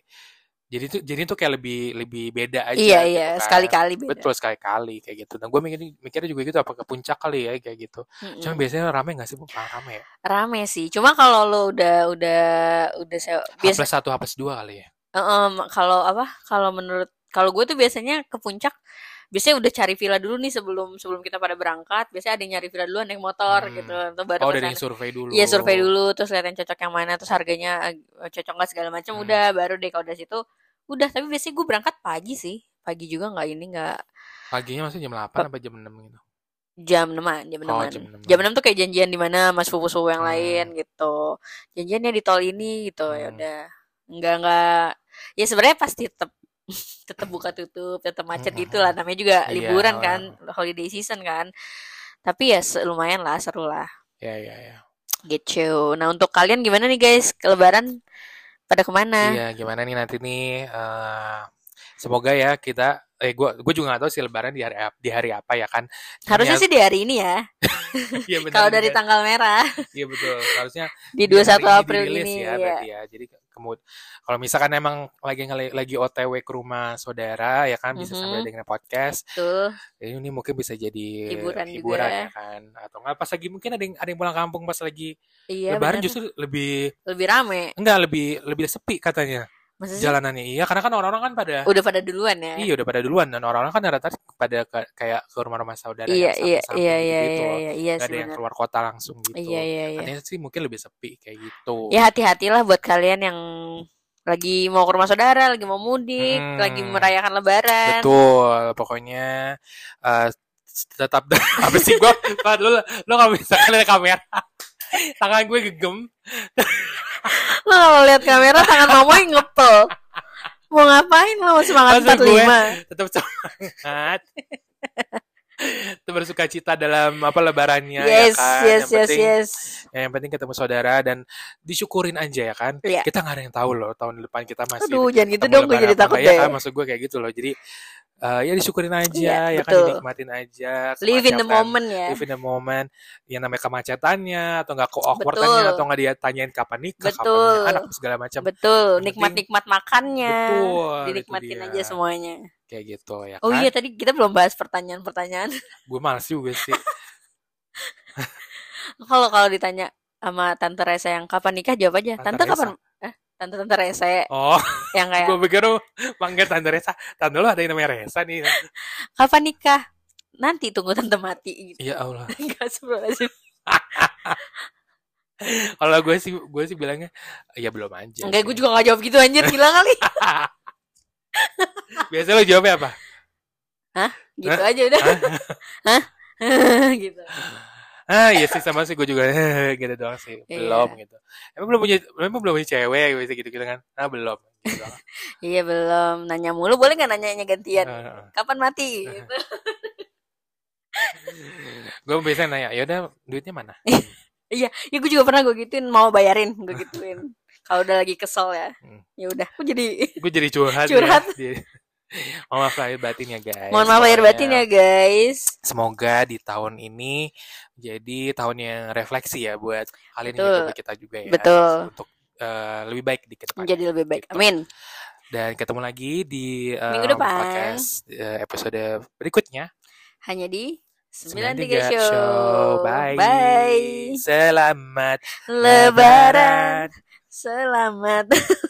Speaker 2: jadi tuh jadi tuh kayak lebih lebih beda aja
Speaker 1: Iya
Speaker 2: gitu
Speaker 1: iya,
Speaker 2: kan.
Speaker 1: sekali-kali beda.
Speaker 2: Betul sekali-kali kayak gitu. Dan gue mikir mikirnya juga gitu apa ke puncak kali ya kayak gitu.
Speaker 1: Mm-mm.
Speaker 2: Cuma biasanya rame nggak sih bu? Kurang Rame ya.
Speaker 1: Rame sih. Cuma kalau lo udah udah udah saya
Speaker 2: H
Speaker 1: biasa
Speaker 2: plus satu, H plus dua kali ya.
Speaker 1: Em, kalau apa? Kalau menurut kalau gue tuh biasanya ke puncak biasanya udah cari villa dulu nih sebelum sebelum kita pada berangkat. Biasanya ada yang nyari villa duluan naik motor
Speaker 2: Hmm.
Speaker 1: gitu. Terus baru
Speaker 2: Oh,
Speaker 1: ke
Speaker 2: dari
Speaker 1: sana.
Speaker 2: survei dulu.
Speaker 1: Iya survei dulu terus lihat yang cocok yang mana terus harganya eh, cocok nggak segala macam
Speaker 2: Hmm.
Speaker 1: udah baru deh kalau dari situ udah tapi biasanya gue berangkat pagi sih pagi juga nggak ini nggak
Speaker 2: Paginya maksudnya jam 8 apa jam 6 gitu?
Speaker 1: jam 6 jam
Speaker 2: Oh,
Speaker 1: 6
Speaker 2: jam
Speaker 1: jam
Speaker 2: 6
Speaker 1: 6 tuh kayak janjian di mana mas sepupu sepupu yang
Speaker 2: Hmm.
Speaker 1: lain gitu janjiannya di tol ini gitu ya
Speaker 2: Hmm.
Speaker 1: udah nggak nggak ya sebenarnya pasti tetap tetap buka tutup tetap macet
Speaker 2: Mm-mm.
Speaker 1: gitu lah namanya juga
Speaker 2: Iya,
Speaker 1: liburan
Speaker 2: oh,
Speaker 1: kan holiday season kan tapi ya se- lumayan lah seru lah
Speaker 2: Ya,
Speaker 1: iya,
Speaker 2: ya, ya.
Speaker 1: gitu nah untuk kalian gimana nih guys Ke lebaran pada
Speaker 2: Iya,
Speaker 1: kemana
Speaker 2: gimana nih nanti nih eh, semoga ya kita eh gua gua juga gak tahu sih lebaran di hari ap- di hari apa ya kan. Cuman
Speaker 1: harusnya
Speaker 2: ya
Speaker 1: sih di hari ini ya
Speaker 2: iya benar
Speaker 1: kalau
Speaker 2: ini
Speaker 1: dari
Speaker 2: kan.
Speaker 1: tanggal merah
Speaker 2: Iya betul. Harusnya
Speaker 1: di
Speaker 2: di hari
Speaker 1: 21
Speaker 2: ini
Speaker 1: April
Speaker 2: dirilis
Speaker 1: ini
Speaker 2: ya
Speaker 1: ya
Speaker 2: berarti ya. Jadi kemud kalau misalkan emang lagi ngele- lagi OTW ke rumah saudara ya kan bisa sambil
Speaker 1: Mhm,
Speaker 2: dengerin podcast.
Speaker 1: betul
Speaker 2: Jadi ini mungkin bisa jadi
Speaker 1: hiburan juga
Speaker 2: hiburan ya kan atau nggak pas lagi mungkin ada yang ada yang pulang kampung pas lagi
Speaker 1: iya
Speaker 2: lebaran
Speaker 1: benar
Speaker 2: justru lebih
Speaker 1: lebih rame
Speaker 2: enggak lebih lebih sepi katanya
Speaker 1: masa sih
Speaker 2: jalanannya iya karena kan orang-orang kan pada
Speaker 1: udah pada duluan ya
Speaker 2: iya udah pada duluan dan orang-orang kan rata-rata pada ke- kayak ke rumah-rumah saudara
Speaker 1: iya
Speaker 2: yang
Speaker 1: iya iya
Speaker 2: samping-samping
Speaker 1: iya
Speaker 2: gitu-gitu
Speaker 1: iya
Speaker 2: loh
Speaker 1: iya, iya sih
Speaker 2: nggak ada yang
Speaker 1: benar
Speaker 2: keluar kota langsung
Speaker 1: iya
Speaker 2: gitu
Speaker 1: iya iya
Speaker 2: katanya sih mungkin lebih sepi kayak gitu
Speaker 1: ya hati-hatilah buat kalian yang lagi mau ke rumah saudara lagi mau mudik lagi
Speaker 2: Mm-mm.
Speaker 1: merayakan lebaran
Speaker 2: Betul, pokoknya eh, tetap apa sih gue lu lu kalau misalkan ada kamera tangan gue gegem
Speaker 1: lo kalau lihat kamera tangan mamoi ngepel mau ngapain lo Mau semangat 45
Speaker 2: Maksud gue, tetap semangat tetap bersuka cita dalam apa lebarannya
Speaker 1: yes
Speaker 2: ya
Speaker 1: yes
Speaker 2: kan yang
Speaker 1: yes
Speaker 2: penting
Speaker 1: yes
Speaker 2: ya, yang penting ketemu saudara dan disyukurin aja ya kan
Speaker 1: Iya.
Speaker 2: kita nggak ada yang tahu loh tahun depan kita masih
Speaker 1: Aduh, jangan gitu
Speaker 2: ketemu
Speaker 1: dong, gue
Speaker 2: lebaran
Speaker 1: jadi
Speaker 2: apa
Speaker 1: takut
Speaker 2: nggak ya
Speaker 1: deh.
Speaker 2: kan maksud gue kayak gitu loh jadi eh, ya disyukurin
Speaker 1: Iya,
Speaker 2: aja ya kan
Speaker 1: betul.
Speaker 2: dinikmatin aja
Speaker 1: Live in the
Speaker 2: kemacetan
Speaker 1: moment ya.
Speaker 2: live in the moment yang namanya kemacetannya atau nggak
Speaker 1: Betul.
Speaker 2: keawkwardannya atau nggak dia tanyain kapan nikah kapan punya
Speaker 1: Betul.
Speaker 2: anak segala macam
Speaker 1: Betul,
Speaker 2: Yang penting-
Speaker 1: nikmat-nikmat makannya.
Speaker 2: betul itu
Speaker 1: Dinikmatin
Speaker 2: dia
Speaker 1: aja semuanya.
Speaker 2: kayak gitu ya
Speaker 1: Oh iya,
Speaker 2: kan
Speaker 1: tadi kita belum bahas pertanyaan-pertanyaan.
Speaker 2: gue males juga sih
Speaker 1: Kalau kalau ditanya sama tante Rese yang kapan nikah, jawab aja,
Speaker 2: Tante
Speaker 1: "Tante kapan?"
Speaker 2: Resa
Speaker 1: Eh, tante-tante Rese
Speaker 2: oh
Speaker 1: yang kayak,
Speaker 2: gue pikir lu manggil Tante Resa Tante lu ada yang namanya Resa nih
Speaker 1: "Kapan nikah?" Nanti tunggu tante mati gitu.
Speaker 2: Ya Allah
Speaker 1: Enggak sebelah sih.
Speaker 2: Kalau gue sih gue sih bilangnya Ya belum aja
Speaker 1: Enggak,
Speaker 2: sih.
Speaker 1: gue juga gak jawab gitu anjir, gila kali.
Speaker 2: Biasanya lu jawabnya apa?
Speaker 1: Gitu aja udah. Hah? gitu.
Speaker 2: Ah iya sih sama sih gue juga Gitu doang sih
Speaker 1: Iya.
Speaker 2: Belum gitu Emang belum punya Emang belum punya cewek Biasa gitu-gitu kan Ah belum gitu doang. Ah,
Speaker 1: Iya belum nanya mulu boleh nggak nanyanya gantian
Speaker 2: Heeh.
Speaker 1: kapan mati gitu.
Speaker 2: Gue biasanya nanya Yaudah duitnya mana?
Speaker 1: ya gue juga pernah gue gituin mau bayarin gue gituin kalau udah lagi kesel ya
Speaker 2: Hmm.
Speaker 1: ya udah gue jadi
Speaker 2: Gue jadi curhat,
Speaker 1: Curhat.
Speaker 2: ya. Jadi- Mohon maaf lahir batin ya guys
Speaker 1: mohon maaf lahir
Speaker 2: Pokoknya-
Speaker 1: batin ya guys
Speaker 2: Semoga di tahun ini jadi tahun yang refleksi ya buat kalian yang
Speaker 1: Betul.
Speaker 2: jomblo kita juga ya.
Speaker 1: Betul.
Speaker 2: Untuk eh, lebih baik di kedepannya.
Speaker 1: menjadi lebih baik
Speaker 2: Gitu.
Speaker 1: amin
Speaker 2: Dan ketemu lagi di eh,
Speaker 1: Minggu depan.
Speaker 2: podcast eh, episode berikutnya.
Speaker 1: hanya di 93
Speaker 2: 93
Speaker 1: show,
Speaker 2: Bye.
Speaker 1: bye
Speaker 2: Selamat
Speaker 1: lebaran selamat